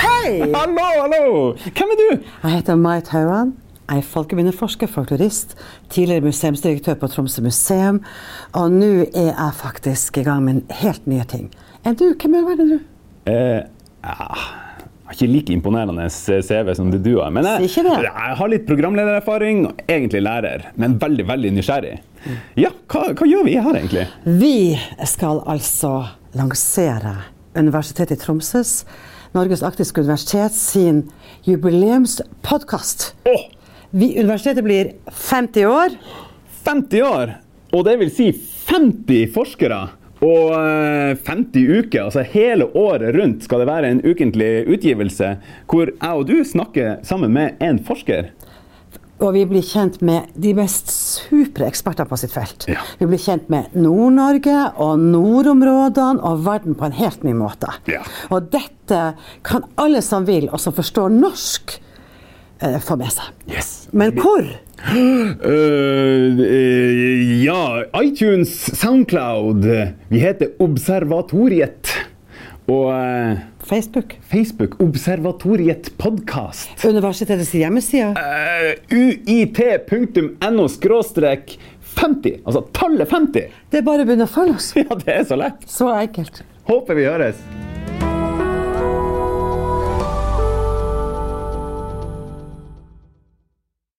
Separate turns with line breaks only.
Hallo, hallo! Hvem er du?
Jeg heter Mai Tauan. Jeg er folkeminneforsker, folklorist, tidligere museumsdirektør på Tromsø museum. Og nå er jeg faktisk i gang med en helt nye ting. Er du, Hvem i all verden er du?
Eh, ah, jeg har ikke like imponerende CV som det du har. Men jeg,
Si ikke det.
jeg har litt programledererfaring og egentlig lærer, men veldig veldig nysgjerrig. Ja, hva, hva gjør vi her egentlig?
Vi skal altså lansere Universitetet i Tromsøs, Norges arktiske universitet, sin jubileumspodkast.
Åh,
Vi- Universitetet blir 50 år.
50 år! Og det vil si 50 forskere! Og eh, 50 uker, altså hele året rundt, skal det være en ukentlig utgivelse hvor jeg og du snakker sammen med en forsker.
Og vi blir kjent med de mest supre eksperter på sitt felt.
Ja.
Vi blir kjent med Nord-Norge og nordområdene og verden på en helt ny måte.
Ja.
Og dette kan alle som vil, og som forstår norsk, eh, få med seg.
Yes!
Men hvor?
Øh, øh, ja, iTunes, Soundcloud. Vi heter Observatoriet. Og eh,
Facebook?
Facebook Observatoriet podkast.
Universitetets hjemmeside?
Eh, uit.no skråstrek 50. Altså tallet 50.
Det er bare å begynne å følge oss.
Ja, det er så lett.
Så enkelt.
Håper vi høres.